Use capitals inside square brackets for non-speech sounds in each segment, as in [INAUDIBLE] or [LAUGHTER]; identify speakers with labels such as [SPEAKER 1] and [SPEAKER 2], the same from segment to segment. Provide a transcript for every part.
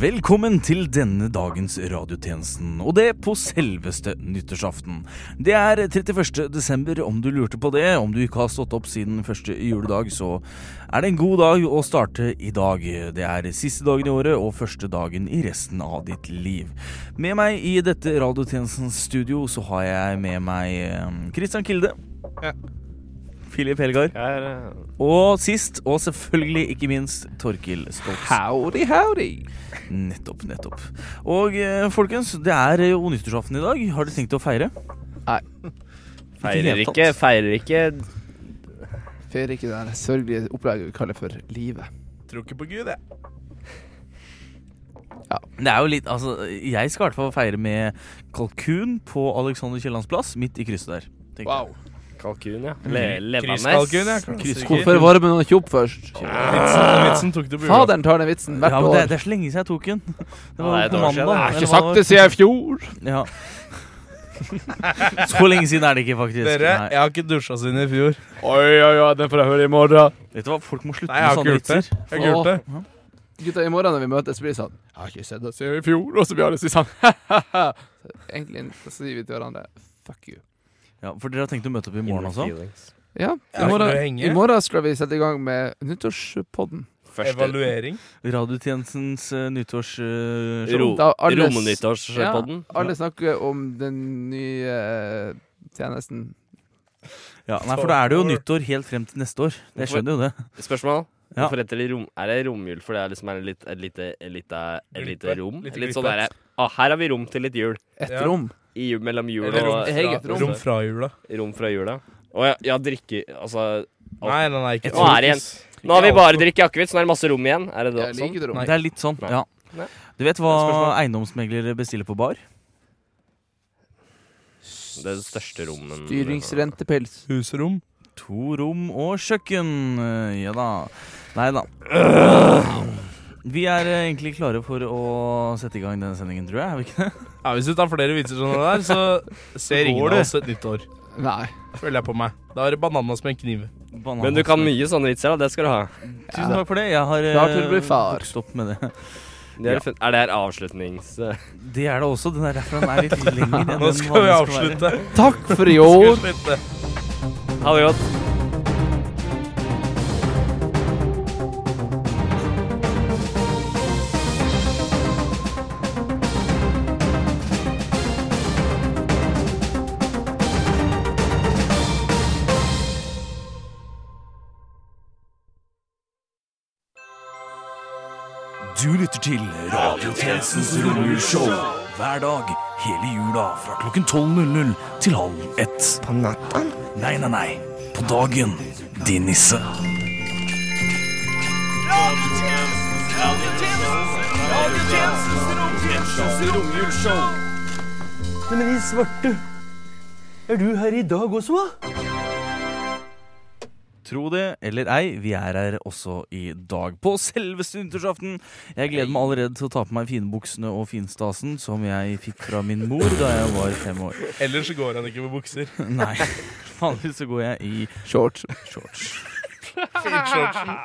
[SPEAKER 1] Velkommen til denne dagens radiotjenesten, og det på selveste nyttårsaften. Det er 31. desember, om du lurte på det. Om du ikke har stått opp siden første juledag, så er det en god dag å starte i dag. Det er siste dagen i året og første dagen i resten av ditt liv. Med meg i dette radiotjenestens studio så har jeg med meg eh, Christian Kilde.
[SPEAKER 2] Ja.
[SPEAKER 1] Filip Helgar.
[SPEAKER 2] Jeg er
[SPEAKER 1] Og sist, og selvfølgelig ikke minst, Torkil Stoltz.
[SPEAKER 2] Howdy, howdy!
[SPEAKER 1] Nettopp, nettopp. Og eh, folkens, det er jo nyttårsaften i dag. Har dere tenkt å feire?
[SPEAKER 3] Feirer
[SPEAKER 1] Ikke
[SPEAKER 3] ikke,
[SPEAKER 1] helt
[SPEAKER 3] feirer ikke.
[SPEAKER 2] Feirer ikke det her sørgelige opplegget vi kaller for livet.
[SPEAKER 4] Tror ikke på Gud, jeg.
[SPEAKER 1] Det er jo litt, altså, Jeg skal i hvert fall feire med kalkun på Alexander Kiellands plass, midt i krysset der. tenker jeg.
[SPEAKER 3] Kalkun, ja. Le
[SPEAKER 4] Krysskalkun, ja.
[SPEAKER 3] Levende.
[SPEAKER 2] Hvorfor varmer man ikke opp først?
[SPEAKER 4] Vitsen, vitsen tok du på julaften.
[SPEAKER 2] Faderen tar den vitsen hvert
[SPEAKER 1] Ja, men det,
[SPEAKER 2] år.
[SPEAKER 1] det er sånn så lenge siden jeg tok den.
[SPEAKER 3] Ja,
[SPEAKER 1] [LAUGHS] Det
[SPEAKER 3] det er
[SPEAKER 1] var
[SPEAKER 3] et år
[SPEAKER 1] på
[SPEAKER 3] siden,
[SPEAKER 1] mandag.
[SPEAKER 3] det er
[SPEAKER 2] Jeg
[SPEAKER 1] eller
[SPEAKER 2] har ikke
[SPEAKER 1] hva
[SPEAKER 2] sagt det siden i fjor.
[SPEAKER 1] det var. Ja. [LAUGHS] Så lenge siden er det ikke, faktisk.
[SPEAKER 4] Dere,
[SPEAKER 1] Nei.
[SPEAKER 4] jeg har ikke dusja siden i fjor.
[SPEAKER 2] Oi, oi, oi, den får jeg høre i morgen.
[SPEAKER 1] Vet du hva, folk må slutte
[SPEAKER 4] Nei, jeg har
[SPEAKER 1] med
[SPEAKER 4] ikke
[SPEAKER 1] sånne
[SPEAKER 4] gjort det.
[SPEAKER 1] vitser.
[SPEAKER 4] Jeg har ikke gjort det.
[SPEAKER 2] Gutta, i morgen når vi møtes, blir det sånn Jeg har ikke sett deg siden i fjor, og så blir alle sånn [LAUGHS] Så Egentlig så sier vi til hverandre fuck you.
[SPEAKER 1] Ja, for dere har tenkt å møte opp i morgen også?
[SPEAKER 2] Ja, i
[SPEAKER 4] Jeg har ikke noe å
[SPEAKER 2] morgen,
[SPEAKER 4] henge.
[SPEAKER 2] i morgen skal vi sette i gang med nyttårspodden.
[SPEAKER 3] Første
[SPEAKER 4] Evaluering.
[SPEAKER 1] Radiotjenestens eh, uh, nyttårsshow.
[SPEAKER 3] ro
[SPEAKER 2] Da alles-
[SPEAKER 3] Rommenyttårspodden.
[SPEAKER 2] Ja, alle snakker om den nye eh, tjenesten.
[SPEAKER 1] ja, nei, for da er det jo nyttår helt frem til neste år. Jeg
[SPEAKER 3] Hvorfor-
[SPEAKER 1] skjønner jo det.
[SPEAKER 3] Spørsmål?
[SPEAKER 1] Ja.
[SPEAKER 3] Hvorfor heter det rom? Er det romjul fordi det er liksom er litt, et lite, et lite, et lite
[SPEAKER 4] Glippe.
[SPEAKER 3] rom?
[SPEAKER 4] Lite
[SPEAKER 3] Litt sånn
[SPEAKER 4] glippe.
[SPEAKER 3] derre ah, Her har vi rom til litt jul.
[SPEAKER 2] Et
[SPEAKER 4] Ja.
[SPEAKER 2] rom.
[SPEAKER 3] I jul, mellom jul
[SPEAKER 4] Eller
[SPEAKER 3] og
[SPEAKER 2] fra- Eget rom.
[SPEAKER 4] rom fra jula.
[SPEAKER 3] rom fra jula. Å ja, ja, drikke Altså
[SPEAKER 4] Nei, nei, nei, ikke
[SPEAKER 3] Nå er det igjen. Nå har vi bare drikket akevitt, så nå er det masse rom igjen. Er det det
[SPEAKER 2] Jeg
[SPEAKER 3] sånn?
[SPEAKER 2] liker det rom.
[SPEAKER 1] Det er litt sånn,
[SPEAKER 3] Nei.
[SPEAKER 1] ja.
[SPEAKER 3] Nei.
[SPEAKER 1] Du vet hva
[SPEAKER 3] Spørsmål?
[SPEAKER 1] eiendomsmeglere bestiller på bar?
[SPEAKER 3] sånn? Det er det største rommet
[SPEAKER 2] Styringsrentepels.
[SPEAKER 4] Husrom.
[SPEAKER 1] To rom og kjøkken. Eh, Ja da. Nei da. Vi er eh, egentlig klare for å sette i gang denne sendingen, tror jeg. Er vi ikke det?
[SPEAKER 4] Ja, hvis du tar flere vitser som det der, så ser ingen
[SPEAKER 1] går
[SPEAKER 4] av
[SPEAKER 1] det.
[SPEAKER 4] oss et nytt år.
[SPEAKER 2] Nei.
[SPEAKER 4] Føler jeg på meg. Da er det bananas med en kniv.
[SPEAKER 1] Banan-
[SPEAKER 3] Men du kan mye sånne vitser, da. Det skal du ha.
[SPEAKER 1] Tusen takk for det. Jeg har
[SPEAKER 2] Klar til å bli
[SPEAKER 1] eh,
[SPEAKER 2] far.
[SPEAKER 1] vokst opp med det.
[SPEAKER 3] Det er, er det her avslutnings... [LAUGHS]
[SPEAKER 1] Det er det også. Den er derfor den er litt lenger enn
[SPEAKER 4] Nå
[SPEAKER 1] den
[SPEAKER 4] skal vi
[SPEAKER 1] vanlige være.
[SPEAKER 4] avslutte.
[SPEAKER 2] Takk for i
[SPEAKER 4] [LAUGHS] Skal vi
[SPEAKER 2] år.
[SPEAKER 4] slutte?
[SPEAKER 3] Ha det godt.
[SPEAKER 1] Du lytter til Radiotjenestens romjulsshow hver dag hele jula fra klokken 12.00 til halv ett. På natta? Nei, nei, nei. På dagen, din nisse.
[SPEAKER 5] Men i svarte, er du her i dag også, hva?
[SPEAKER 1] Tro det eller ei, vi er her også i dag på selveste nyttårsaften. Jeg gleder meg allerede til å ta på meg finbuksene og finstasen som jeg fikk fra min mor da jeg var fem år.
[SPEAKER 4] Ellers så går han ikke med bukser.
[SPEAKER 1] Nei, [LAUGHS] vanligvis så går jeg i
[SPEAKER 2] Shorts.
[SPEAKER 1] shorts.
[SPEAKER 4] Finshortsen.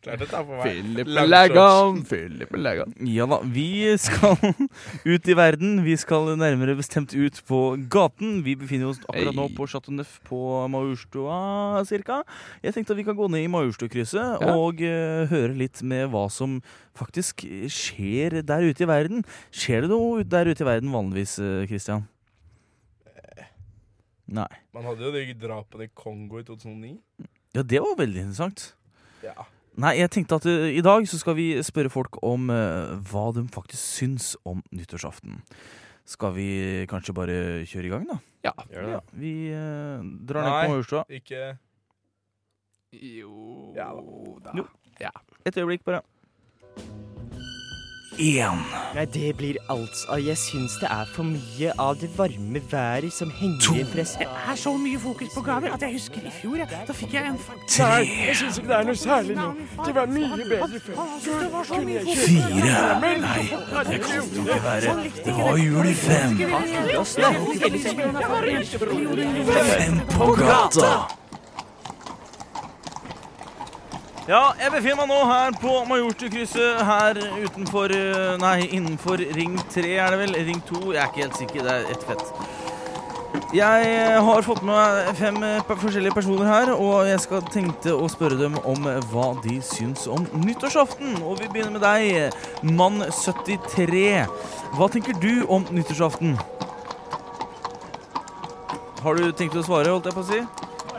[SPEAKER 4] Klart det tar på meg.
[SPEAKER 2] Philip
[SPEAKER 4] Lang
[SPEAKER 2] Legan. Philip Legan.
[SPEAKER 1] Ja da, vi skal [LAUGHS] ut i verden. Vi skal nærmere bestemt ut på gaten. Vi befinner oss akkurat nå
[SPEAKER 2] Hei.
[SPEAKER 1] på Chateau Neuf på Majorstua cirka. Jeg tenkte at vi kan gå ned i Majorstukrysset
[SPEAKER 2] Ja.
[SPEAKER 1] og eh, høre litt med hva som faktisk skjer der ute i verden. Skjer det noe ut- der ute i verden vanligvis, eh, Christian?
[SPEAKER 2] Eh.
[SPEAKER 1] Nei.
[SPEAKER 4] Man hadde jo de drapene i Kongo i 2009.
[SPEAKER 1] Ja, det var veldig interessant.
[SPEAKER 4] Ja.
[SPEAKER 1] Nei, jeg tenkte at eh, i dag så skal vi spørre folk om eh, hva de faktisk syns om nyttårsaften. Skal vi kanskje bare kjøre i gang, da?
[SPEAKER 2] Ja.
[SPEAKER 3] Gjør det.
[SPEAKER 1] Ja, vi eh, drar ned
[SPEAKER 4] Nei.
[SPEAKER 1] på Majorstua.
[SPEAKER 4] Ikke
[SPEAKER 2] Jo
[SPEAKER 4] Ja da.
[SPEAKER 2] da.
[SPEAKER 1] Jo. Et øyeblikk, bare. Én,
[SPEAKER 6] Nei, det blir altså Jeg syns det er for mye av det varme været som henger
[SPEAKER 1] To.
[SPEAKER 6] igjen fra sp-
[SPEAKER 7] er så mye fokus på gaver at jeg husker i fjor, jeg. Da fikk jeg en
[SPEAKER 1] tre,
[SPEAKER 7] syns ikke det er noe særlig nå. Det var mye bedre før. Det var så mye fokus.
[SPEAKER 1] fire Nei, det kan jo ikke være Det var jul i fem. Fem på gata. Ja, jeg befinner meg nå her på Majorstukrysset her utenfor eh, Nei, innenfor Ring 3 er det vel? Ring 2? Jeg er ikke helt sikker. Det er ett fett. Jeg eh, har fått med meg fem eh, pe- forskjellige personer her, og jeg skal tenkte å spørre dem om eh, hva de syns om nyttårsaften. Og vi begynner med deg, mann 73. Hva tenker du om nyttårsaften? Har du tenkt å svare, holdt jeg på å si?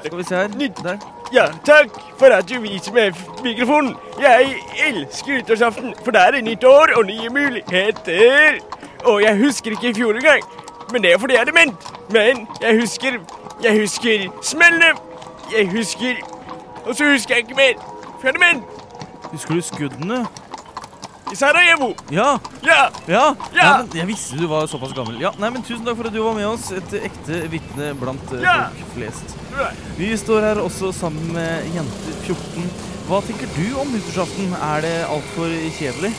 [SPEAKER 1] Skal vi se her. Der.
[SPEAKER 8] Ja, takk for at du viser meg f- mikrofonen. Jeg elsker nyttårsaften, for der er nytt år og nye muligheter. Og jeg husker ikke i fjor engang, men det er fordi jeg er dement. Men jeg husker Jeg husker smellene. Jeg husker Og så husker jeg ikke mer, for jeg er dement.
[SPEAKER 1] Husker du skuddene?
[SPEAKER 8] I Sarajevo.
[SPEAKER 1] Ja!
[SPEAKER 8] Ja.
[SPEAKER 1] Ja,
[SPEAKER 8] Ja!
[SPEAKER 1] Nei, men jeg visste du var såpass gammel. Ja, nei, men Tusen takk for at du var med oss. Et ekte vitne blant eh,
[SPEAKER 8] Ja!
[SPEAKER 1] folk flest.
[SPEAKER 8] du er-
[SPEAKER 1] Vi står her også sammen med jente 14. Hva tenker du om nyttårsaften? Er det altfor kjedelig?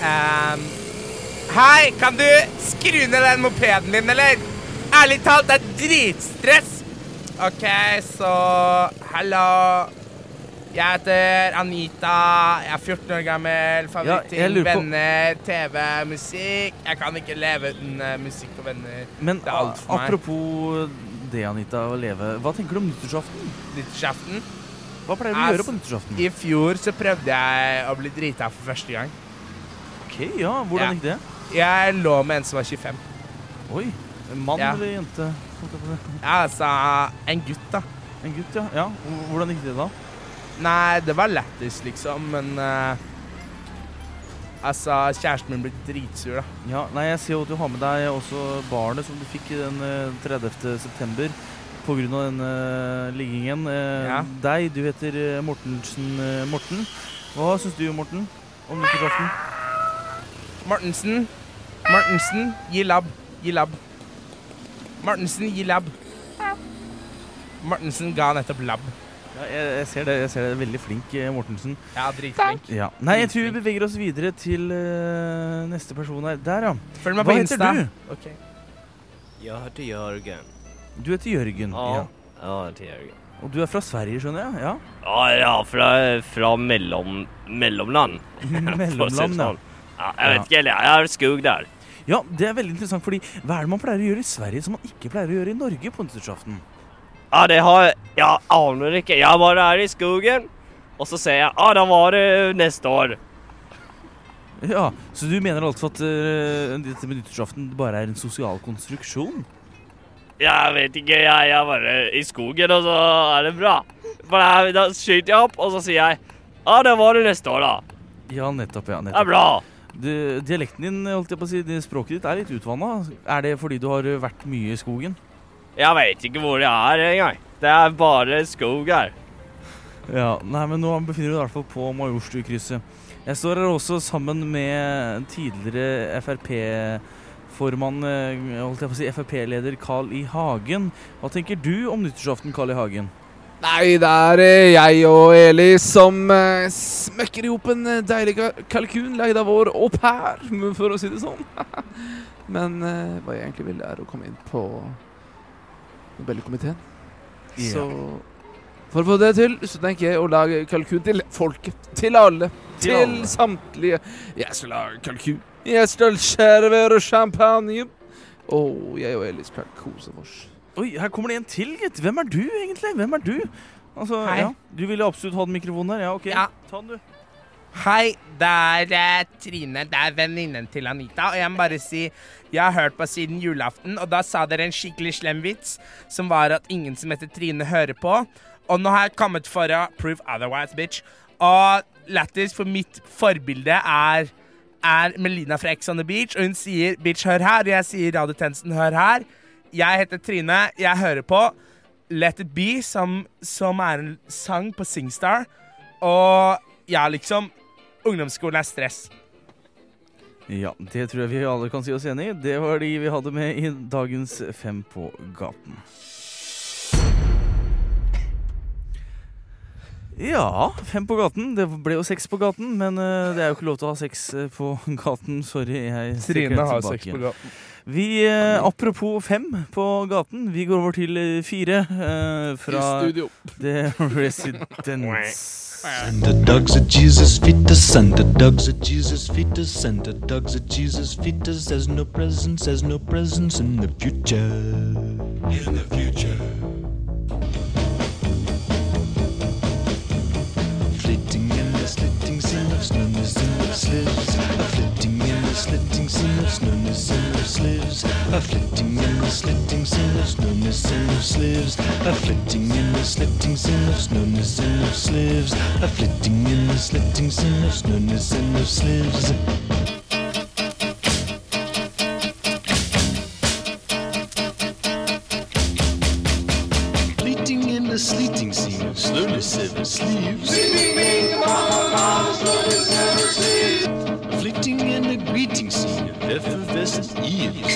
[SPEAKER 9] Ehm, hei, kan du skru ned den mopeden din, eller? Ærlig talt, det er dritstress. OK, så Hallo. Jeg heter Anita. Jeg er 14 år gammel.
[SPEAKER 1] Ja, jeg
[SPEAKER 9] Favoritting,
[SPEAKER 1] lurer på-
[SPEAKER 9] venner, TV, musikk. Jeg kan ikke leve uten eh, musikk og venner.
[SPEAKER 1] Men
[SPEAKER 9] Det er alt for
[SPEAKER 1] a-
[SPEAKER 9] meg.
[SPEAKER 1] apropos det, Anita, å leve. Hva tenker du om nyttårsaften?
[SPEAKER 9] Nyttårsaften.
[SPEAKER 1] Hva pleier du å
[SPEAKER 9] Ass.
[SPEAKER 1] gjøre på nyttårsaften?
[SPEAKER 9] I fjor så prøvde jeg å bli drita for første gang.
[SPEAKER 1] Ok, ja, Hvordan
[SPEAKER 9] Ja.
[SPEAKER 1] gikk det?
[SPEAKER 9] Jeg lå med en som var 25.
[SPEAKER 1] Oi. En mann
[SPEAKER 9] Ja.
[SPEAKER 1] eller jente? Holdt jeg på å si.
[SPEAKER 9] Ja, altså en gutt, da.
[SPEAKER 1] En gutt, ja. ja. Hvordan gikk det da?
[SPEAKER 9] Nei, det var lættis, liksom, men eh, Altså, kjæresten min ble dritsur, da.
[SPEAKER 1] Ja, nei, jeg ser jo at du har med deg også barnet som du fikk den eh, 30. september på grunn av denne liggingen. Eh,
[SPEAKER 9] Ja.
[SPEAKER 1] Deg, du heter eh, Mortensen eh, Morten. Hva syns du, Morten, om nyttårsaften?
[SPEAKER 9] Martensen, Martensen, gi labb. Gi labb. Martensen, gi labb. Martensen ga nettopp labb.
[SPEAKER 1] Ja, jeg, jeg ser det. Jeg ser det. Veldig flink, eh, Mortensen.
[SPEAKER 9] Ja, dritflink.
[SPEAKER 1] Ja. Nei, jeg tror vi beveger oss videre til eh, neste person her. Der, ja.
[SPEAKER 9] Følg meg
[SPEAKER 1] Hva
[SPEAKER 9] på
[SPEAKER 1] heter
[SPEAKER 9] Insta.
[SPEAKER 1] du?
[SPEAKER 9] Ok.
[SPEAKER 3] Jeg heter Jørgen.
[SPEAKER 1] Du heter Jørgen.
[SPEAKER 3] Ja.
[SPEAKER 1] Ja.
[SPEAKER 3] Jeg heter Jørgen.
[SPEAKER 1] Og du er fra Sverige, skjønner jeg? [LAUGHS] Ja.
[SPEAKER 3] Ja, ja, fra, fra mellom, mellomland. for å si det
[SPEAKER 1] Mellomland, ja.
[SPEAKER 3] sånn. ja. Jeg vet ikke, jeg er skog der.
[SPEAKER 1] ja. Det er veldig interessant, fordi hva er det man pleier å gjøre i Sverige som man ikke pleier å gjøre i Norge på nyttårsaften?
[SPEAKER 3] Ja, det har Jeg aner ikke. Jeg bare er i skogen, og så ser jeg Ja, da var det neste år.
[SPEAKER 1] Ja, Så du mener altså at eh, dette med nyttårsaften bare er en sosial konstruksjon?
[SPEAKER 3] Jeg vet ikke, jeg, jeg er bare i skogen, og så er det bra. For da- da skyter jeg opp, og så sier jeg Ja, det var det neste år, da.
[SPEAKER 1] Ja, nettopp.
[SPEAKER 3] Det
[SPEAKER 1] ja,
[SPEAKER 3] er
[SPEAKER 1] nettopp.
[SPEAKER 3] bra.
[SPEAKER 1] Du, dialekten din, holdt jeg på å si, det språket ditt er litt utvanna. Er det fordi du har vært mye i skogen?
[SPEAKER 3] Jeg vet ikke hvor jeg er engang. Det er bare skog her.
[SPEAKER 1] Ja, nei, men nå befinner du deg i hvert fall på Majorstukrysset. Jeg står her også sammen med tidligere Frp-formann, eh, holdt jeg på å si, Frp-leder Carl I. Hagen. Hva tenker du om nyttårsaften, Carl I. Hagen?
[SPEAKER 2] Nei, det er eh, jeg og Eli som eh, smekker i hop en eh, deilig ka- kalkun lagd av vår au pair, m- [LAUGHS] for å si det sånn. [LAUGHS] Men eh, hva jeg egentlig ville, er å komme inn på Nobelkomiteen. Så for å få det til, så tenker jeg å lage kalkun til folket. Til alle. Til,
[SPEAKER 1] alle.
[SPEAKER 2] samtlige. Jeg skal lage kalkun. Jeg skal servere champagne. Og jeg og Eli skal kose oss.
[SPEAKER 1] Oi, her kommer det en til, gitt. Hvem er du, egentlig? Hvem er du? Altså,
[SPEAKER 9] Hei.
[SPEAKER 1] ja, Du ville absolutt ha den mikrofonen her? Ja, ok.
[SPEAKER 9] Ja.
[SPEAKER 1] Ta den, du.
[SPEAKER 9] Hei, det er eh, Trine. Det er venninnen til Anita. Og jeg må bare si jeg har hørt på siden julaften, og da sa dere en skikkelig slem vits som var at ingen som heter Trine, hører på. Og nå har jeg kommet for å prove otherwise, bitch. Og lættis, for mitt forbilde er er Melina fra Ex on the Beach, og hun sier 'bitch, hør her', og jeg sier radiotjenesten 'hør her'. Jeg heter Trine, jeg hører på Let It Be, som, som er en sang på Singstar. Og ja, liksom Ungdomsskolen er stress.
[SPEAKER 1] Ja, det tror jeg vi alle kan si oss enig i. Det var de vi hadde med i dagens Fem på gaten. Ja, fem på gaten. Det ble jo seks på gaten, men eh, det er jo ikke lov til å ha seks eh, på [LAUGHS] gaten. Sorry, jeg trekker
[SPEAKER 2] Trine
[SPEAKER 1] den
[SPEAKER 2] har
[SPEAKER 1] tilbake.
[SPEAKER 2] sex på gaten.
[SPEAKER 1] Vi, eh, apropos fem på gaten, vi går over til eh, fire eh, fra
[SPEAKER 10] I studio.
[SPEAKER 1] The Residents.
[SPEAKER 11] And the dogs of Jesus fetus, and the dogs of Jesus fetus, and the dogs of Jesus fetus. There's no presence, there's no presence in the future. In the future. Flitting in the slitting scene of slowness and of slips. A flitting in the slitting scene of slowness and of slips. A flitting in the slitting scene of slowness and of slips. A flitting in the slitting scene of slowness and of slips. A flitting in the slitting scene of slowness and of slips. Fleeting in the sleeting scene of slowness ever sleeps. Fleeting in the greeting scene of effervescent eves.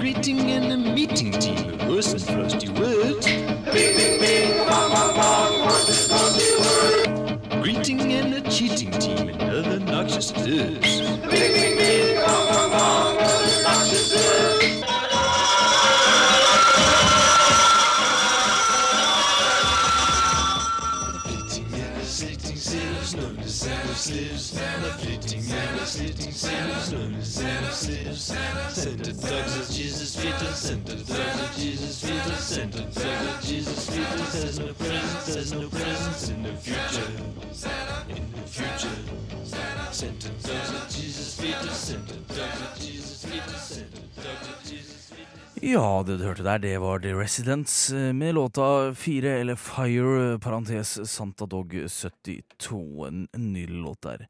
[SPEAKER 11] Greeting in the meeting team of worse and frosty words. Greeting in the cheating team and other noxious verbs. Santa dogs of Jesus fetus, Santa dogs of Jesus fetus, Santa dogs of Jesus fetus. There's no presence, there's no presence in the future, in the future. Santa dogs of Jesus fetus, Santa dogs of Jesus fetus, Santa dogs of Jesus fetus.
[SPEAKER 1] Ja, det du hørte der, det var The Residents eh, med låta 4, eller Fire, eh, parentes Santa Dog 72. En en nydelig låt der.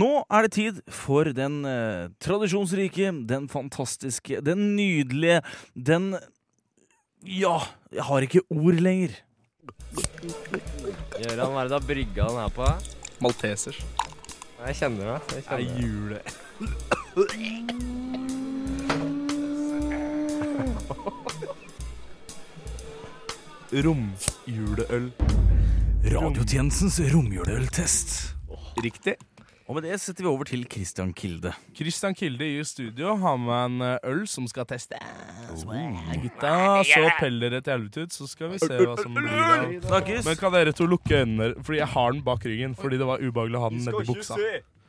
[SPEAKER 1] Nå er det tid for den eh, tradisjonsrike, den fantastiske, den nydelige, den Ja, jeg har ikke ord lenger.
[SPEAKER 12] Gjøran, hva er det du har brygga den her på?
[SPEAKER 2] Maltesers.
[SPEAKER 12] Jeg kjenner det. Jeg kjenner det.
[SPEAKER 2] jule.
[SPEAKER 1] Romjuleøl. Radiotjenestens romjuleøltest. Riktig. Og med det setter vi over til Christian Kilde.
[SPEAKER 4] Christian Kilde i studio har med en eh, øl som skal testes. Gutta, så peller det til helvete ut, så skal vi se hva som blir av
[SPEAKER 1] Snakkes.
[SPEAKER 4] Men kan dere to lukke øynene? Fordi jeg har den bak ryggen. Fordi det var ubehagelig å ha den nedi buksa.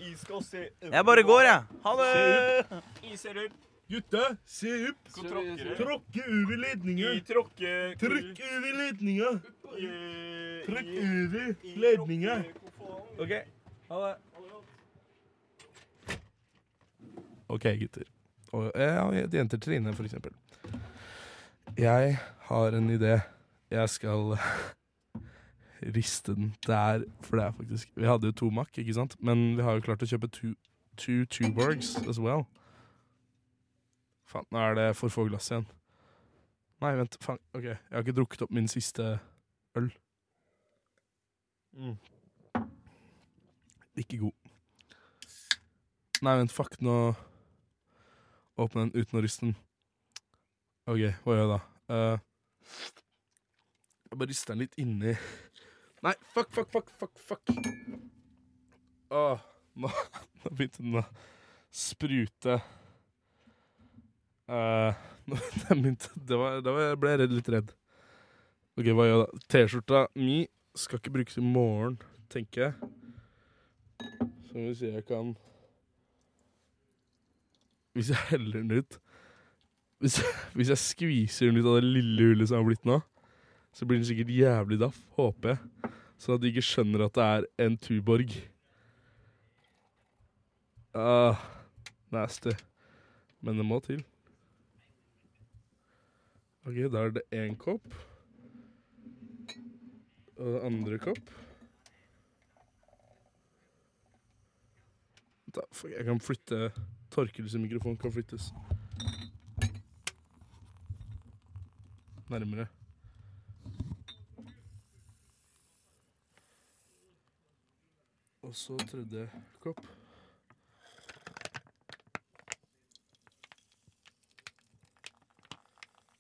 [SPEAKER 13] Jeg skal se
[SPEAKER 1] Jeg bare går, jeg. Ha
[SPEAKER 13] det!
[SPEAKER 14] Jeg ser opp.
[SPEAKER 13] Gutta, se opp! Tråkke over ledninga. Trykk over ledninga. Trykk over ledninga.
[SPEAKER 2] OK. Ha det.
[SPEAKER 4] Ok, gutter. Og, eh, ja, og jenter Trine, for eksempel. Jeg har en idé. Jeg skal [LAUGHS] riste den der, for det er faktisk Vi hadde jo to Mac, ikke sant? Men vi har jo klart å kjøpe two, two Tuborgs as well. Faen, nå er det for få glass igjen. Nei, vent. Faen. Ok, jeg har ikke drukket opp min siste øl. Ikke god. Nei, vent, fuck, nå åpne den uten å riste den. OK, hva gjør jeg da? Eh, jeg bare rister den litt inni Nei, fuck, fuck, fuck, fuck. fuck. Åh, nå, [LAUGHS] nå begynte den å sprute. Eh, [LAUGHS] nå, den begynte, det var, da var jeg- ble jeg redd, litt redd. OK, hva gjør jeg da? T-skjorta mi skal ikke brukes i morgen, tenker jeg. Så hvis jeg kan hvis jeg heller den ut hvis, hvis jeg [LAUGHS] skviser den ut av det lille hullet som har blitt nå, så blir den sikkert jævlig daff, håper jeg. Sånn at de ikke skjønner at det er en Tuborg. Ah, nasty. Men det må til. OK, da er det én kopp. Og det andre kopp. Da, fuck, jeg kan flytte Torkels mikrofon kan flyttes. Nærmere. Åh, Og så tredje kopp.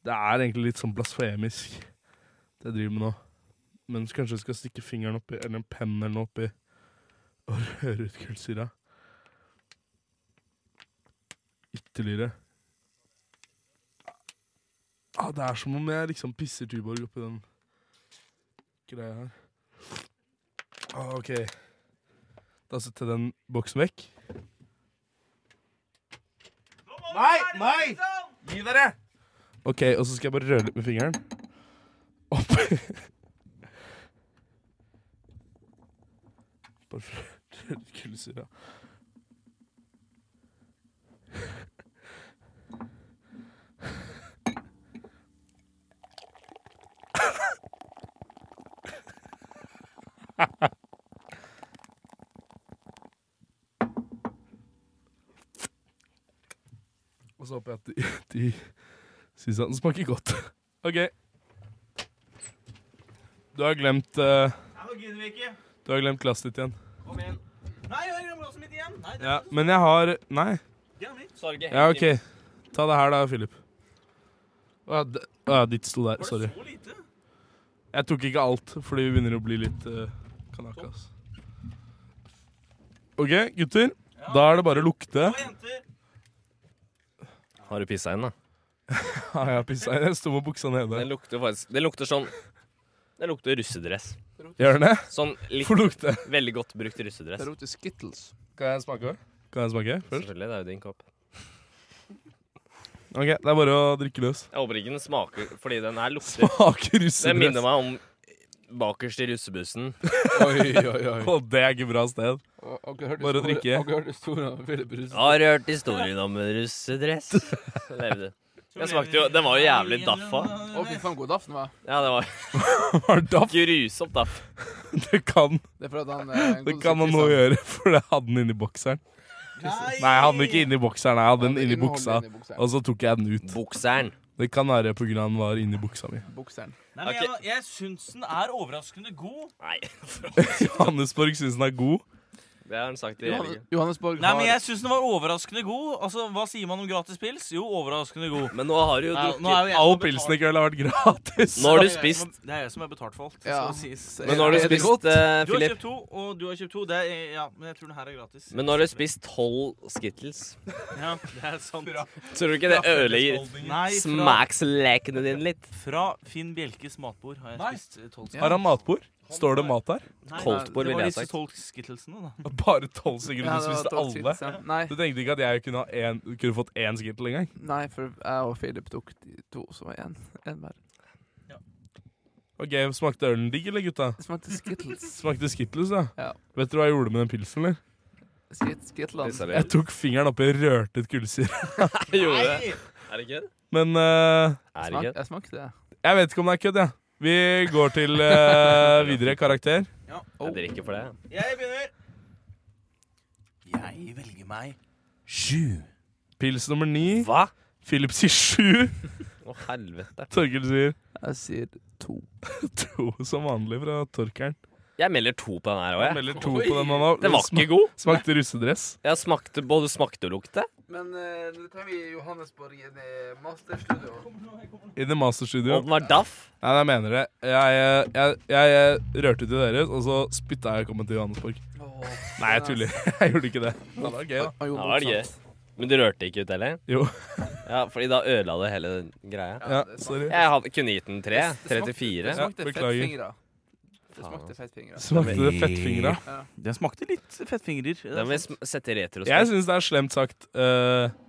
[SPEAKER 4] Det er egentlig litt sånn blasfemisk, det jeg driver med nå. Men kanskje jeg skal stikke fingeren oppi, eller en penn eller noe oppi, og [LAUGHS] røre ut kullsyra. Ytterligere. Ah, det er som om jeg liksom pisser Tuborg oppi den greia her. Ah, ok. Da setter jeg den boksen vekk.
[SPEAKER 2] Nei, nei! Gi dere!
[SPEAKER 4] Ok, og så skal jeg bare røre litt med fingeren. Opp. [LAUGHS] Bare for å røre litt kullsyra. [LAUGHS] Og så håper jeg at de, de syns at den smaker godt. [LAUGHS] OK. Du har glemt eh,
[SPEAKER 9] nå gidder vi ikke.
[SPEAKER 4] Du har glemt glasset ditt igjen.
[SPEAKER 9] Kom igjen. Nei, jeg glemmer også mitt igjen. Nei,
[SPEAKER 4] Ja, men jeg har Nei.
[SPEAKER 9] Sorge,
[SPEAKER 4] Ja, OK. Ta det her, da, Philip. Å ja, det- å ja, ditt sto der. Sorry. Jeg tok ikke alt, fordi vi begynner å bli litt eh, kanakas. OK, gutter. Da er det bare å lukte.
[SPEAKER 12] Har du pissa inn, da?
[SPEAKER 4] Ja, jeg har pissa inn. Jeg sto med buksa nede.
[SPEAKER 12] Det lukter faktisk Det lukter sånn Det lukter russedress.
[SPEAKER 4] Gjør den det?
[SPEAKER 12] Sånn litt
[SPEAKER 4] Får lukte.
[SPEAKER 12] Veldig godt brukt russedress.
[SPEAKER 2] Det lukter skittles.
[SPEAKER 4] Kan jeg smake? Kan jeg smake først?
[SPEAKER 12] Selvfølgelig. Det er jo din kopp.
[SPEAKER 4] OK, det er bare å drikke løs.
[SPEAKER 12] Jeg håper ikke den smaker fordi den her
[SPEAKER 4] [LAUGHS]
[SPEAKER 12] lukter
[SPEAKER 4] Smaker russedress.
[SPEAKER 12] Den minner meg om bakerst i russebussen.
[SPEAKER 4] Oi, oi, oi. Og det er ikke bra sted. [LAUGHS] Bare å drikke.
[SPEAKER 12] Har hørt historien om en [LAUGHS] russedress. Levde. Jeg smakte jo Den var jo jævlig daffa.
[SPEAKER 2] Å, fy faen, god aften, hva?
[SPEAKER 12] Ja, det var [LAUGHS]
[SPEAKER 4] Var daff?
[SPEAKER 12] Grusomt daff.
[SPEAKER 4] Det kan
[SPEAKER 2] Det er for at han eh,
[SPEAKER 4] Det kan han nå gjøre, for jeg hadde den inni bokseren. Nei, jeg hadde den ikke inni bokseren. Jeg hadde den inni
[SPEAKER 2] den
[SPEAKER 4] buksa,
[SPEAKER 2] holdt den inni
[SPEAKER 4] og så tok jeg den ut.
[SPEAKER 12] Bokseren
[SPEAKER 4] Det kan være pga. den var inni buksa mi.
[SPEAKER 2] Bokseren.
[SPEAKER 15] Nei, men jeg, jeg syns den er overraskende god.
[SPEAKER 12] Nei,
[SPEAKER 4] Johannesborg syns den er god.
[SPEAKER 12] Det har han sagt i
[SPEAKER 15] Johannes-
[SPEAKER 12] helgen.
[SPEAKER 2] Johannesborg
[SPEAKER 15] Nei, men jeg syns den var overraskende god. Altså, Hva sier man om gratis pils? Jo, overraskende [LAUGHS] god.
[SPEAKER 12] Men nå har du jo
[SPEAKER 15] Nei,
[SPEAKER 12] drukket-
[SPEAKER 15] nå er jo jeg som
[SPEAKER 4] All
[SPEAKER 15] har betalt-
[SPEAKER 4] pilsen i kveld har vært gratis.
[SPEAKER 12] Nå har
[SPEAKER 15] Det er
[SPEAKER 12] du
[SPEAKER 15] jeg som
[SPEAKER 12] spist
[SPEAKER 15] har- Det er jeg som har betalt for alt.
[SPEAKER 2] Ja.
[SPEAKER 15] skal det sies.
[SPEAKER 12] Men nå har du Er det spist, godt? eh,
[SPEAKER 15] Du har
[SPEAKER 12] Philip.
[SPEAKER 15] kjøpt to, og du har kjøpt to. Det er, ja, men jeg tror den her er gratis.
[SPEAKER 12] Men nå har du spist tolv Skittles.
[SPEAKER 15] Ja, det er sant.
[SPEAKER 12] Tror du ikke det
[SPEAKER 15] Fra
[SPEAKER 12] ødelegger
[SPEAKER 15] fellesholdningen. Nei, fra-
[SPEAKER 12] smakslekene dine litt?
[SPEAKER 15] Fra Finn Bjelkes matbord har jeg spist tolv
[SPEAKER 4] [LAUGHS] Har han matbord? Står det mat der?
[SPEAKER 12] Koldtbord,
[SPEAKER 15] Det
[SPEAKER 12] ville
[SPEAKER 15] var
[SPEAKER 12] jeg
[SPEAKER 15] disse
[SPEAKER 12] sagt.
[SPEAKER 15] tolv skittlesene, da.
[SPEAKER 4] Bare tolv sekunder,
[SPEAKER 2] Ja, det var
[SPEAKER 4] du spiste
[SPEAKER 2] 12 Skittles, ja.
[SPEAKER 4] alle? Du tenkte ikke at jeg kunne, ha en, kunne fått én skittle engang?
[SPEAKER 2] Nei, for jeg og Philip tok de to, så var én hver.
[SPEAKER 4] OK, smakte ølen digg, eller, gutta?
[SPEAKER 2] Smakte Skittles.
[SPEAKER 4] Smakte Skittles, ja.
[SPEAKER 2] Ja.
[SPEAKER 4] Vet du hva jeg gjorde med den pilsen, eller?
[SPEAKER 2] Skit, skittland.
[SPEAKER 4] Jeg tok fingeren oppi og rørte ut kullsyre. [LAUGHS]
[SPEAKER 12] Gjorde det? Er det ikke det?
[SPEAKER 4] Men eh,
[SPEAKER 12] Er det ikke det?
[SPEAKER 2] Jeg smakte det.
[SPEAKER 4] Jeg vet ikke om det er kødd, jeg. Vi går til eh, videre karakter.
[SPEAKER 12] Jeg drikker for det.
[SPEAKER 15] Jeg begynner. Jeg velger meg
[SPEAKER 4] Sju. Pils nummer ni. Hva? Philip sier sju. [LAUGHS]
[SPEAKER 12] Å, helvete.
[SPEAKER 4] Torkel sier
[SPEAKER 2] Jeg sier to.
[SPEAKER 4] to som vanlig fra Torkeren.
[SPEAKER 12] Jeg melder to på den her òg, jeg.
[SPEAKER 4] Han melder to på den han har.
[SPEAKER 12] Den var ikke god.
[SPEAKER 4] Smakte russedress.
[SPEAKER 12] Jeg smakte både smakte og lukte.
[SPEAKER 2] Men eh, nå kan vi i Johannesborg inn i masterstudio.
[SPEAKER 4] I The Master Studio.
[SPEAKER 12] Og den var daff.
[SPEAKER 4] Nei, jeg mener det. Jeg, eh, jeg, jeg, eh, rørte til deres, og så spytta jeg og kom til Johannesborg. Nei, jeg tuller. [LAUGHS] Jeg gjorde ikke det. Men Det var gøy, da.
[SPEAKER 12] Ja, det var gøy. Men du rørte ikke ut heller?
[SPEAKER 4] Jo.
[SPEAKER 12] Ja, fordi da ødela det hele greia.
[SPEAKER 4] Ja, sorry.
[SPEAKER 12] Jeg hadde, kunne gitt den tre.
[SPEAKER 2] Det
[SPEAKER 12] 34.
[SPEAKER 2] smakte, det smakte
[SPEAKER 4] Ja, beklager.
[SPEAKER 2] fettfingre. Det smakte fettfingre.
[SPEAKER 4] Smakte det fettfingra?
[SPEAKER 2] Ja.
[SPEAKER 1] Den smakte litt fettfingrer. Det er
[SPEAKER 12] Den vil
[SPEAKER 1] sant.
[SPEAKER 12] sm- sette i retrospekt.
[SPEAKER 4] Jeg syns det er slemt sagt. eh,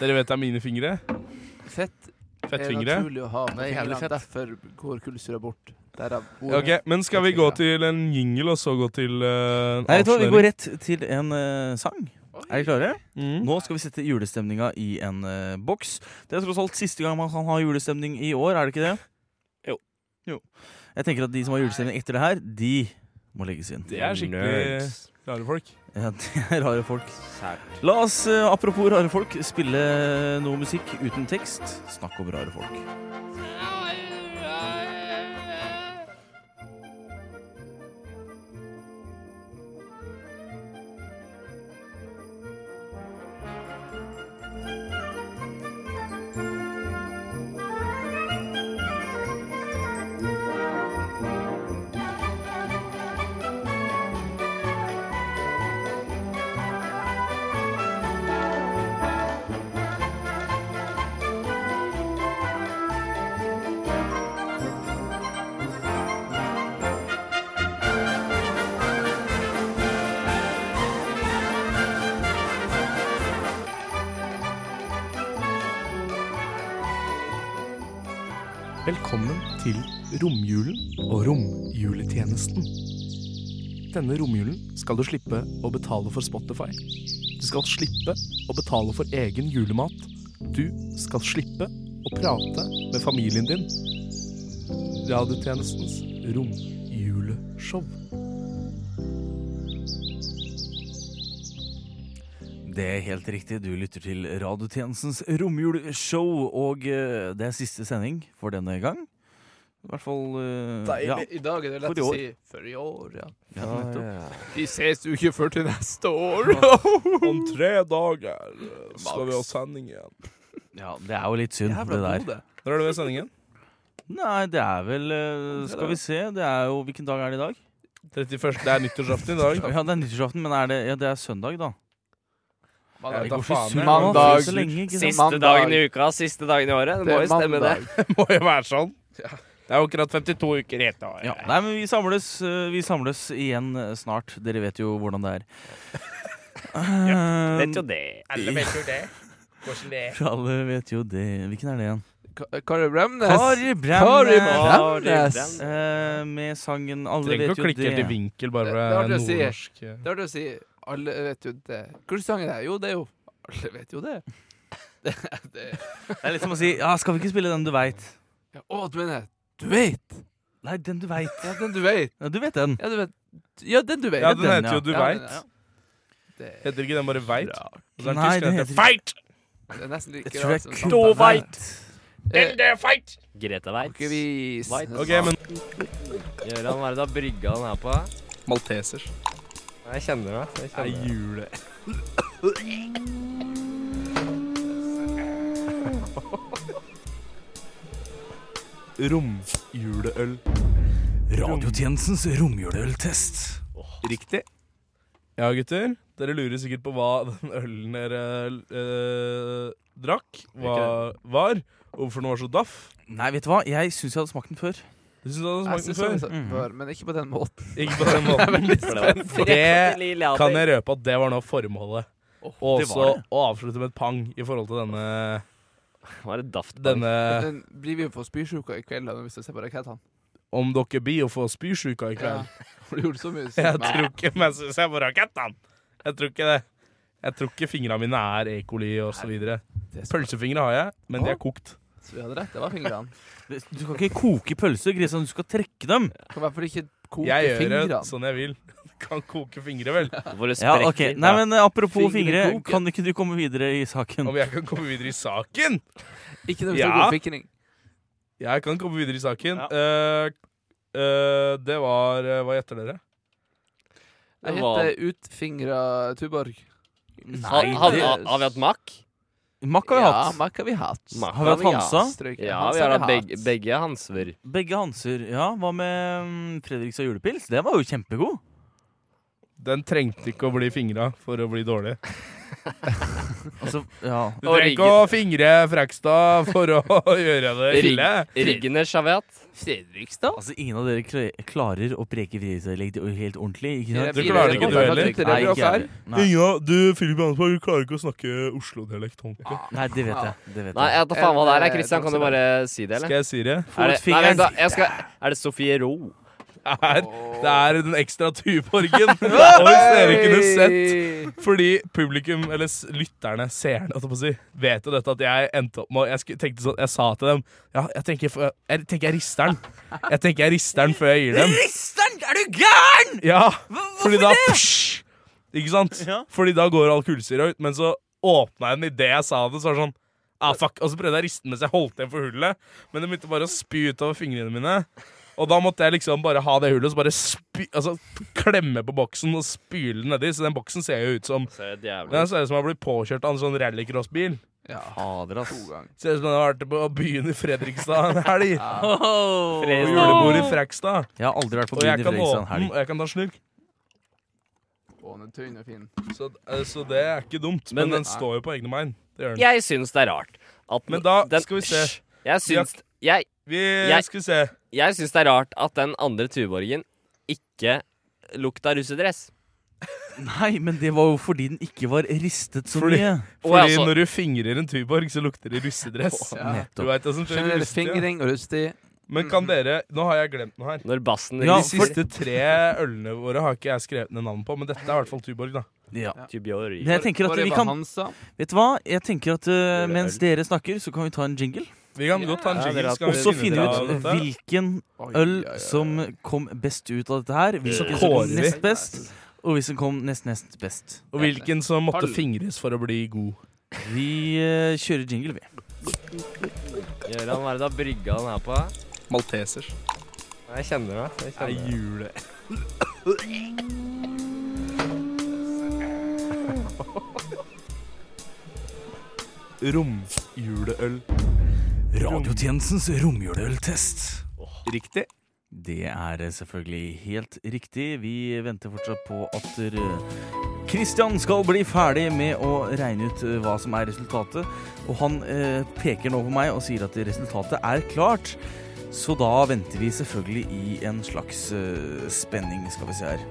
[SPEAKER 4] dere vet det er mine fingre.
[SPEAKER 2] Fett
[SPEAKER 4] Fettfingre.
[SPEAKER 2] er naturlig å ha på
[SPEAKER 12] Det er jævlig
[SPEAKER 2] fingrene. Derfor går kullsyra bort. Derav ordet.
[SPEAKER 4] Ok, Men skal vi gå til en jingle, og så gå til uh,
[SPEAKER 1] Nei, vet du hva, vi går rett til en eh, sang. Er dere klare?
[SPEAKER 2] Mm.
[SPEAKER 4] Mm.
[SPEAKER 1] Nå skal vi sette julestemninga i en eh, boks. Det er tross alt siste gang man kan ha julestemning i år, er det ikke det?
[SPEAKER 12] Jo.
[SPEAKER 1] Jeg tenker at de som har julestemning etter det her, de må legges inn.
[SPEAKER 4] Det er skikkelig rare folk.
[SPEAKER 1] Ja, [LAUGHS] det er rare folk. La oss, eh, apropos rare folk, spille eh, noe musikk uten tekst. Snakk om rare folk.
[SPEAKER 11] Thank
[SPEAKER 16] Velkommen til romjulen og romjuletjenesten. Denne romjulen skal du slippe å betale for Spotify. Du skal slippe å betale for egen julemat. Du skal slippe å prate med familien din. Radiotjenestens romjuleshow.
[SPEAKER 1] Det er helt riktig. Du lytter til Radiotjenestens romjulshow, og eh, det er siste sending for denne gang. I hvert fall eh, ja,
[SPEAKER 2] I dag er det
[SPEAKER 1] for
[SPEAKER 2] lett
[SPEAKER 1] i
[SPEAKER 2] å
[SPEAKER 1] år.
[SPEAKER 2] si for i år, ja.
[SPEAKER 1] Ja, nettopp.
[SPEAKER 2] Vi ses uke før til neste år.
[SPEAKER 4] Om tre dager eh, skal vi ha sending igjen.
[SPEAKER 1] Ja, det er jo litt synd,
[SPEAKER 4] Jævla
[SPEAKER 1] det der.
[SPEAKER 4] god, det. Når er det ved sendingen?
[SPEAKER 1] Nei, det er vel eh, Skal vi se. Det er jo Hvilken dag er det i dag?
[SPEAKER 4] 31. Det er nyttårsaften i dag.
[SPEAKER 1] Ja, det er nyttårsaften, men er det, ja, det er søndag, da.
[SPEAKER 4] Mandag.
[SPEAKER 1] Det går
[SPEAKER 4] Da
[SPEAKER 1] ikke
[SPEAKER 4] faen,
[SPEAKER 1] så-
[SPEAKER 4] jeg.
[SPEAKER 1] det går ikke så
[SPEAKER 4] Mandag.
[SPEAKER 1] lenge, ikke sant?
[SPEAKER 4] Siste
[SPEAKER 3] Siste dagen i uka, siste dagen i året. Det,
[SPEAKER 4] Det
[SPEAKER 3] må
[SPEAKER 4] er
[SPEAKER 3] jo stemme,
[SPEAKER 4] mandag.
[SPEAKER 3] det.
[SPEAKER 4] Må jo være sånn.
[SPEAKER 3] Det er jo akkurat 52 uker i ett år.
[SPEAKER 1] Ja, nei, men vi samles, eh, vi samles igjen eh, snart. Dere vet jo hvordan det er. Eh,
[SPEAKER 3] vet jo det.
[SPEAKER 9] Alle vet jo det. Hvordan det er.
[SPEAKER 1] Alle vet jo det. Hvilken er det igjen?
[SPEAKER 2] Kari Bremnes.
[SPEAKER 1] Kari Bremnes.
[SPEAKER 2] Kari Bremnes.
[SPEAKER 1] Eh, med sangen 'Alle
[SPEAKER 4] Trenger
[SPEAKER 1] vet
[SPEAKER 4] ikke
[SPEAKER 1] jo
[SPEAKER 4] å klikke
[SPEAKER 1] det'.
[SPEAKER 4] helt i vinkel, bare
[SPEAKER 2] Det
[SPEAKER 4] for
[SPEAKER 2] har
[SPEAKER 4] det
[SPEAKER 2] du å
[SPEAKER 4] er
[SPEAKER 2] si.
[SPEAKER 4] nordnorsk. eh.
[SPEAKER 2] Det har du å si. Alle vet jo det. Hvilken sang er det? Jo, det er jo Alle vet jo det. Det, det.
[SPEAKER 1] Det er litt som å si ja, 'Skal vi ikke spille den du veit'?
[SPEAKER 2] Ja, Å, du mener Du veit!
[SPEAKER 1] Nei, den du veit.
[SPEAKER 2] Ja, den du veit.
[SPEAKER 1] Ja, du vet den.
[SPEAKER 2] Ja, du vet. Ja, den du veit.
[SPEAKER 4] Ja, den heter
[SPEAKER 1] ja.
[SPEAKER 4] jo Du
[SPEAKER 2] Ja, den,
[SPEAKER 4] veit.
[SPEAKER 2] ja.
[SPEAKER 4] Heter ikke den bare Veit? Og så er den
[SPEAKER 1] Nei, den
[SPEAKER 4] tysk, den
[SPEAKER 1] heter-
[SPEAKER 4] heter Feit!
[SPEAKER 2] Det er nesten like
[SPEAKER 4] Jeg tror jeg
[SPEAKER 2] rart
[SPEAKER 4] kun-
[SPEAKER 2] som
[SPEAKER 4] Du veit.
[SPEAKER 3] Den der fight!
[SPEAKER 12] Grete Weitz.
[SPEAKER 3] Ikke vis.
[SPEAKER 4] Ok, men
[SPEAKER 12] Gøran, hva er det da brygga han er på?
[SPEAKER 4] Maltesers.
[SPEAKER 12] Jeg kjenner det. Jeg
[SPEAKER 4] Det er
[SPEAKER 12] kjenner det.
[SPEAKER 4] jule...
[SPEAKER 16] Romjuleøl.
[SPEAKER 1] Radiotjenestens romjuleøltest.
[SPEAKER 4] Riktig. Ja, gutter. Dere lurer sikkert på hva den ølen dere eh, drakk, hva var, og hvorfor den var så daff.
[SPEAKER 1] Nei, vet du hva? Jeg syns jeg hadde smakt den før.
[SPEAKER 4] Du syns du hadde
[SPEAKER 2] Jeg
[SPEAKER 4] smakt
[SPEAKER 2] synes
[SPEAKER 4] den før? Mm.
[SPEAKER 2] også den før, men ikke på den måten.
[SPEAKER 4] Ikke på
[SPEAKER 2] [LAUGHS]
[SPEAKER 4] den
[SPEAKER 2] Jeg er
[SPEAKER 4] måten.
[SPEAKER 2] veldig spent.
[SPEAKER 4] For det kan jeg røpe at det var nå formålet. Og
[SPEAKER 2] det var
[SPEAKER 4] også
[SPEAKER 2] det.
[SPEAKER 4] å avslutte med et pang i forhold til denne
[SPEAKER 12] Hva er det daft
[SPEAKER 4] Denne
[SPEAKER 2] Den blir vi jo for spysjuka i kveld da, hvis vi ser på rakettene.
[SPEAKER 4] Om dere blir å få spysjuka i kveld.
[SPEAKER 2] For du gjorde
[SPEAKER 1] [LAUGHS]
[SPEAKER 2] så mye
[SPEAKER 4] Jeg tror ikke Men jeg ser på rakettene. Jeg tror ikke det. Jeg tror ikke fingrene mine er E. coli osv. Pølsefingre har jeg, men de er kokt.
[SPEAKER 2] Så vi hadde rett, det var fingrene.
[SPEAKER 1] Du skal ikke koke pølser, Kristian. Du skal trekke dem.
[SPEAKER 2] Kan i hvert fall ikke koke
[SPEAKER 4] Jeg gjør
[SPEAKER 2] fingrene.
[SPEAKER 4] det sånn jeg vil. [LAUGHS] Kan koke fingre,
[SPEAKER 2] [LAUGHS]
[SPEAKER 4] vel.
[SPEAKER 1] Ja, ok. Nei, men eh, Apropos fingre,
[SPEAKER 4] Fingrekoke.
[SPEAKER 1] kan ikke du komme videre i saken?
[SPEAKER 4] Om jeg kan komme videre i saken?
[SPEAKER 2] Ikke når
[SPEAKER 1] vi snakker om
[SPEAKER 2] fikning.
[SPEAKER 4] Jeg kan komme videre i saken. Eh, eh, det var eh, Hva gjetter dere?
[SPEAKER 2] Jeg heter Utfingra Tuborg.
[SPEAKER 12] Har, har, vi- har, har vi hatt makk?
[SPEAKER 1] Makk har vi
[SPEAKER 2] Ja,
[SPEAKER 1] hatt.
[SPEAKER 2] makk har vi hatt.
[SPEAKER 12] Makk
[SPEAKER 1] Har vi hatt Hansa?
[SPEAKER 2] Stryker.
[SPEAKER 12] Ja,
[SPEAKER 2] Hansa
[SPEAKER 12] vi har
[SPEAKER 2] har
[SPEAKER 12] hatt
[SPEAKER 2] vi
[SPEAKER 12] begge, begge Hanser.
[SPEAKER 1] Begge Hanser. Ja, hva med mm, Fredrikstad julepils? Den var jo kjempegod.
[SPEAKER 4] Den trengte ikke å bli fingra for å bli dårlig.
[SPEAKER 1] Altså, ja.
[SPEAKER 4] Du trenger ikke å fingre Frekstad for å [LAUGHS] gjøre det ille.
[SPEAKER 2] Fredrikstad?
[SPEAKER 1] Altså, ingen av dere kla- klarer å preke fredagstidlegg helt ordentlig? Ikke sant?
[SPEAKER 4] Du klarer det ikke, du heller.
[SPEAKER 1] Nei, ikke jeg. Nei.
[SPEAKER 4] Inga, du Philip Jansberg klarer ikke å snakke Oslo-dialekt.
[SPEAKER 1] Nei, det vet jeg. Det vet
[SPEAKER 12] Nei, jeg vet da faen hva det er. Kristian, kan du bare si det, eller?
[SPEAKER 4] Skal jeg si det?
[SPEAKER 12] Er det, nei, vent da, jeg skal, er det Sofie Ro?
[SPEAKER 4] er, det er den ekstra tuborgen. og hvis dere kunne sett Fordi publikum, eller s- lytterne, seerne, holdt jeg på å si, vet jo dette at jeg endte opp med å- Jeg sku- tenkte sånn, jeg sa til dem Ja, jeg tenker f- jeg, tenker jeg rister den. Jeg tenker jeg rister den før jeg gir dem.
[SPEAKER 1] Rister'n! Er du gæren?!
[SPEAKER 4] Ja, fordi da
[SPEAKER 1] det?
[SPEAKER 4] psh, Ikke sant? Fordi da går all kullsyra ut. Men så åpna jeg den idet jeg sa det, så var det sånn Ah, fuck. Og så prøvde jeg å riste den mens jeg holdt igjen for hullet, men det begynte bare å spy utover fingrene mine. Og da måtte jeg liksom bare ha det hullet og så bare spy, altså, klemme på boksen og spyle den nedi. Så den boksen ser jo ut som
[SPEAKER 12] Ser det jævlig ut.
[SPEAKER 4] Den ser ut som jeg har blitt påkjørt av en sånn rallycrossbil.
[SPEAKER 2] Ja.
[SPEAKER 12] Fader, ass.
[SPEAKER 4] Ser ut som den har vært på byen i Fredrikstad en helg.
[SPEAKER 1] Oh.
[SPEAKER 4] På julebord i Frekstad.
[SPEAKER 1] Jeg har aldri vært på
[SPEAKER 4] Og
[SPEAKER 1] byen
[SPEAKER 4] jeg
[SPEAKER 1] i
[SPEAKER 4] kan
[SPEAKER 1] Fredrikstad en
[SPEAKER 4] åpne den,
[SPEAKER 1] helg.
[SPEAKER 4] og jeg kan ta slurk.
[SPEAKER 2] Å, den er tynn og fin.
[SPEAKER 4] Så, eh, så det er ikke dumt. Men,
[SPEAKER 12] Men-
[SPEAKER 4] den står jo på egne bein. Det gjør den.
[SPEAKER 12] Jeg syns det er rart at
[SPEAKER 4] Men da
[SPEAKER 12] den-
[SPEAKER 4] skal vi se.
[SPEAKER 12] Hysj. Jeg
[SPEAKER 4] Vi har-
[SPEAKER 12] syns Jeg
[SPEAKER 4] Vi
[SPEAKER 12] jeg-
[SPEAKER 4] skal se.
[SPEAKER 12] Jeg syns det er rart at den andre tuborgen ikke lukta russedress.
[SPEAKER 1] Nei, men det var jo fordi den ikke var ristet så
[SPEAKER 4] Fordi,
[SPEAKER 1] mye.
[SPEAKER 4] fordi når du fingrer en Tuborg, så lukter det russedress.
[SPEAKER 1] Ja.
[SPEAKER 4] Du vet hva som skjer med
[SPEAKER 2] Generell
[SPEAKER 4] rustig, ja.
[SPEAKER 2] fingring, rustig.
[SPEAKER 4] Men kan dere Nå har jeg glemt noe her.
[SPEAKER 12] Når bassen
[SPEAKER 4] ja,
[SPEAKER 12] rister.
[SPEAKER 4] De siste tre ølene våre har ikke jeg skrevet ned navn på, men dette er i hvert fall Tuborg, da.
[SPEAKER 1] Ja.
[SPEAKER 12] Tuborg.
[SPEAKER 1] Men jeg tenker at vi kan Vet du hva? Jeg tenker at eh, mens dere snakker, så kan vi ta en jingle.
[SPEAKER 4] Vi kan godt ta en Ja, jingle, dere har- skal
[SPEAKER 1] Og
[SPEAKER 4] vi
[SPEAKER 1] så
[SPEAKER 4] finne
[SPEAKER 1] finne
[SPEAKER 4] ut av
[SPEAKER 1] ut eh,
[SPEAKER 4] dette?
[SPEAKER 1] hvilken
[SPEAKER 4] Oi,
[SPEAKER 1] øl som kom best ut av dette her.
[SPEAKER 4] Så
[SPEAKER 1] Hvilken som
[SPEAKER 4] kårer
[SPEAKER 1] kom
[SPEAKER 4] vi.
[SPEAKER 1] nest best, og hvilken kom nest nest best.
[SPEAKER 4] Og hvilken som måtte
[SPEAKER 1] Halv.
[SPEAKER 4] fingres for å bli god.
[SPEAKER 1] Vi eh, kjører jingle, vi.
[SPEAKER 12] Gjøran, hva er det da brygga han er på?
[SPEAKER 4] Maltesers.
[SPEAKER 12] Jeg kjenner det. Jeg
[SPEAKER 4] Det er
[SPEAKER 12] kjenner det.
[SPEAKER 4] Romjuleøl.
[SPEAKER 1] Radiotjenestens romjuleøltest.
[SPEAKER 4] Riktig.
[SPEAKER 1] Det er eh, selvfølgelig helt riktig. Vi venter fortsatt på at eh, Christian skal bli ferdig med å regne ut eh, hva som er resultatet. Og han eh, peker nå på meg og sier at resultatet er klart. Så da venter vi selvfølgelig i en slags eh, spenning, skal vi se her.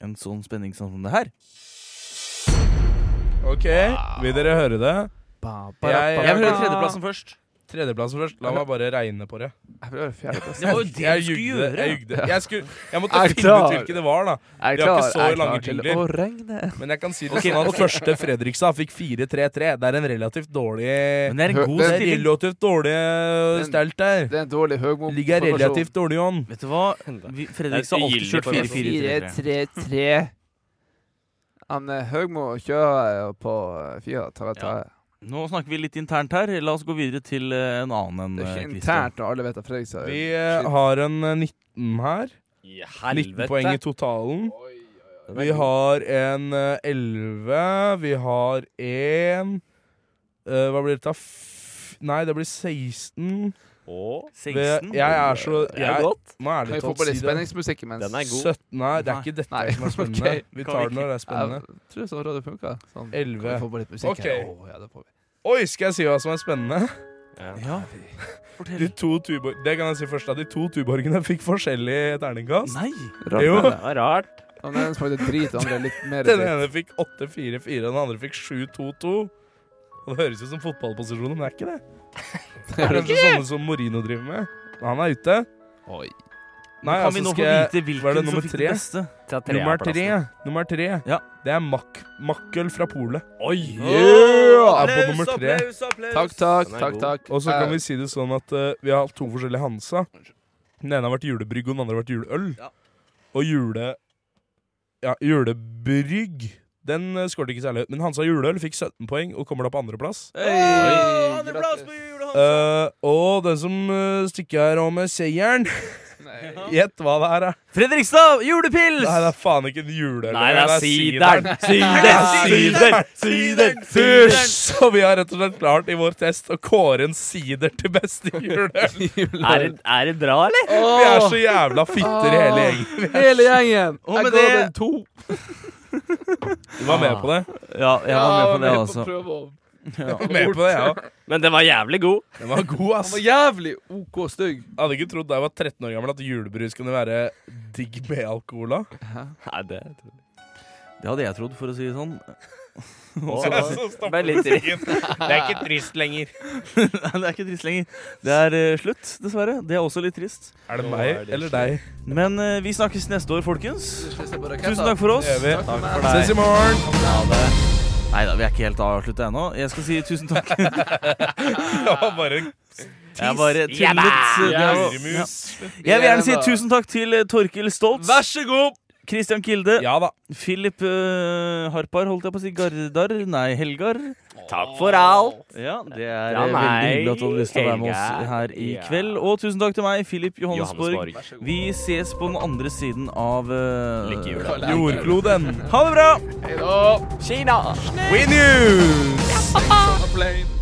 [SPEAKER 1] En sånn spenning sånn som det her.
[SPEAKER 4] OK, vil dere høre det?
[SPEAKER 1] ba, ba, Jeg vil høre ba. tredjeplassen
[SPEAKER 4] først. Tredjeplassen først. La meg bare regne på det. Jeg vil høre fjerdeplassen. [LAUGHS]
[SPEAKER 1] Det var jo det
[SPEAKER 4] jeg
[SPEAKER 1] du skulle
[SPEAKER 4] jugde, Jeg,
[SPEAKER 1] gjøre.
[SPEAKER 4] jugde. jeg, skulle, jeg måtte
[SPEAKER 1] Er
[SPEAKER 4] finne ut
[SPEAKER 1] klar.
[SPEAKER 4] hvilke det var, da.
[SPEAKER 1] Er
[SPEAKER 4] Vi har
[SPEAKER 1] klar,
[SPEAKER 4] ikke så
[SPEAKER 1] er
[SPEAKER 4] lange
[SPEAKER 1] klar til
[SPEAKER 4] jingler.
[SPEAKER 1] å regne.
[SPEAKER 4] Men jeg kan si det
[SPEAKER 1] Ok,
[SPEAKER 4] sånn at
[SPEAKER 1] ok.
[SPEAKER 4] første Fredrikstad fikk 4-3-3. Det er en relativt dårlig
[SPEAKER 1] Men det er en god
[SPEAKER 4] det er
[SPEAKER 1] stilling.
[SPEAKER 4] relativt dårlig eh,
[SPEAKER 1] Den-
[SPEAKER 4] stelt der. Det
[SPEAKER 2] er en dårlig høgmo.
[SPEAKER 4] Ligger relativt dårlig an.
[SPEAKER 1] Vet du hva? Vi, Fredrikstad har alltid kjørt
[SPEAKER 2] altså.
[SPEAKER 1] 4-4-3-3.
[SPEAKER 2] 4-3-3. Han eh, Høgmo kjører jo på eh, 4-3-3.
[SPEAKER 1] Nå snakker vi litt internt her. La oss gå videre til eh, en annen enn
[SPEAKER 2] Det er
[SPEAKER 1] eh,
[SPEAKER 2] ikke
[SPEAKER 1] Christian.
[SPEAKER 2] internt, og alle vet at Fredrikstad er-
[SPEAKER 4] Vi eh, har en eh, 19 her.
[SPEAKER 12] helvete.
[SPEAKER 4] 19 poeng i totalen. Vi har en eh, 11. Vi har en eh, Hva blir dette? F nei, det blir 16. Det- Jeg er så jeg, Nå er
[SPEAKER 2] Kan
[SPEAKER 4] det
[SPEAKER 2] vi få
[SPEAKER 4] talt
[SPEAKER 2] på litt
[SPEAKER 4] si det.
[SPEAKER 2] spenningsmusikk imens?
[SPEAKER 4] 17 Nei, det er ikke dette
[SPEAKER 2] Nei.
[SPEAKER 4] som er
[SPEAKER 2] [LAUGHS]
[SPEAKER 4] spennende.
[SPEAKER 2] Ok.
[SPEAKER 4] Vi
[SPEAKER 2] Kan
[SPEAKER 4] tar det når
[SPEAKER 2] ikke-
[SPEAKER 4] det er spennende.
[SPEAKER 2] Jeg tror sånn radio funker. Sånn. Kan vi få på litt
[SPEAKER 4] 11.
[SPEAKER 2] musikk
[SPEAKER 4] Ok.
[SPEAKER 2] her? Å, ja, det får vi.
[SPEAKER 4] Oi, skal jeg si hva som er spennende?
[SPEAKER 1] Ja.
[SPEAKER 4] De to tubor det kan jeg si først. da. De to tuborgene fikk forskjellig terningkast.
[SPEAKER 1] Nei!
[SPEAKER 2] Rart,
[SPEAKER 4] jo.
[SPEAKER 2] det er Den ene smakte drit, den andre litt mer
[SPEAKER 4] [LAUGHS]
[SPEAKER 2] [LAUGHS]
[SPEAKER 4] Den
[SPEAKER 2] dritt.
[SPEAKER 4] ene fikk 8-4-4, og den andre fikk 7-2-2. Og Det høres ut som fotballposisjoner, men det er ikke det. Det er kanskje sånne som Morino driver med. Han er ute.
[SPEAKER 2] Oi.
[SPEAKER 4] Nei,
[SPEAKER 1] Men kan vi
[SPEAKER 4] altså,
[SPEAKER 1] nå få
[SPEAKER 4] skal jeg-
[SPEAKER 1] vite hvilken
[SPEAKER 4] hva er det,
[SPEAKER 1] som
[SPEAKER 4] nummer
[SPEAKER 1] fikk det
[SPEAKER 4] tre?
[SPEAKER 1] beste? Ta tre
[SPEAKER 4] Nummer
[SPEAKER 1] av plassen.
[SPEAKER 4] tre, nummer tre. Det er mak makkøl fra polet.
[SPEAKER 12] Oi!
[SPEAKER 4] Yeah! Er på
[SPEAKER 2] Applaus,
[SPEAKER 4] nummer tre.
[SPEAKER 2] applaus, applaus! Takk, takk,
[SPEAKER 4] Den er
[SPEAKER 2] takk,
[SPEAKER 4] god.
[SPEAKER 2] takk.
[SPEAKER 4] Og så kan
[SPEAKER 2] Eh.
[SPEAKER 4] vi si det sånn at eh, vi har hatt to forskjellige Hansa. Den ene har vært julebrygg, og den andre har vært juleøl. Og jule... Ja, julebrygg. Den eh, skårte ikke særlig høyt, men Hansa juleøl fikk 17 poeng og kommer da på andreplass.
[SPEAKER 2] Hey,
[SPEAKER 4] Eh, og den som eh, stikker her om med seieren [LAUGHS] Gjett hva det er, da.
[SPEAKER 1] Fredrikstad julepils!
[SPEAKER 4] Nei, det er faen ikke en juleøl.
[SPEAKER 12] Nei, det er
[SPEAKER 4] [LAUGHS]
[SPEAKER 12] sideren.
[SPEAKER 4] Sideren!
[SPEAKER 12] Sideren, sideren,
[SPEAKER 4] Sideren!
[SPEAKER 12] sideren.
[SPEAKER 4] Så vi har rett og slett klart i vår test å kåre en sider til beste juleøl.
[SPEAKER 12] Er det, er det bra, eller?
[SPEAKER 4] Vi er så jævla fitter, hele gjengen.
[SPEAKER 2] Hele gjengen!
[SPEAKER 1] Og med
[SPEAKER 2] Jeg ga
[SPEAKER 1] det-
[SPEAKER 2] den to.
[SPEAKER 4] Du var
[SPEAKER 12] Ah.
[SPEAKER 4] med på det?
[SPEAKER 1] Ja, jeg var
[SPEAKER 2] Ah,
[SPEAKER 1] med på det, altså.
[SPEAKER 4] Ja. Med på det, jeg òg.
[SPEAKER 12] Men den var jævlig god.
[SPEAKER 4] [LAUGHS] Den var god, ass.
[SPEAKER 2] Den var jævlig OK stygg.
[SPEAKER 4] Jeg hadde ikke trodd da jeg var 13 år gammel at julebrus kunne være digg med alkohol. da.
[SPEAKER 12] Nei, det
[SPEAKER 1] Det hadde jeg trodd, for å si det sånn. [LAUGHS]
[SPEAKER 4] Å, så [LAUGHS] stopper
[SPEAKER 1] Bare litt i-
[SPEAKER 4] musikken. Det er ikke trist lenger.
[SPEAKER 1] Nei, det er ikke trist lenger. Det er eh, slutt, dessverre. Det er også litt trist.
[SPEAKER 4] Er det meg, eller deg?
[SPEAKER 1] Men eh, vi snakkes neste år, folkens. Tusen takk for oss.
[SPEAKER 4] Det gjør vi. [LAUGHS]
[SPEAKER 1] Takk for deg.
[SPEAKER 4] Ses i morgen.
[SPEAKER 1] Ha det. Nei da, vi er ikke helt avslutta ennå. Jeg skal si tusen [LAUGHS] takk.
[SPEAKER 4] Det var bare en
[SPEAKER 1] Jeg bare tullet.
[SPEAKER 4] Jabba!
[SPEAKER 1] Det var- ja.
[SPEAKER 4] Luremus.
[SPEAKER 1] Jeg vil gjerne si tusen takk til eh, Torkil Stoltz. Vær så god! Christian Kilde.
[SPEAKER 4] Ja da.
[SPEAKER 1] Philip eh, Harpar, holdt jeg på å si. Gardar. Nei, Helgar.
[SPEAKER 12] Takk for alt.
[SPEAKER 1] Ja, det er
[SPEAKER 12] Fra
[SPEAKER 1] eh, veldig
[SPEAKER 12] meg,
[SPEAKER 1] hyggelig at du hadde lyst til å være med
[SPEAKER 12] Helgar.
[SPEAKER 1] oss her i
[SPEAKER 12] Ja.
[SPEAKER 1] kveld. Og tusen takk til meg, Philip Johannesborg.
[SPEAKER 12] Johannesborg. Vær så
[SPEAKER 1] Vi ses på den andre siden av eh,
[SPEAKER 12] Lykkehjulet.
[SPEAKER 4] jordkloden. Ha det bra!
[SPEAKER 2] Hei da.
[SPEAKER 12] Kina!
[SPEAKER 4] We news!
[SPEAKER 2] Sex on a plane.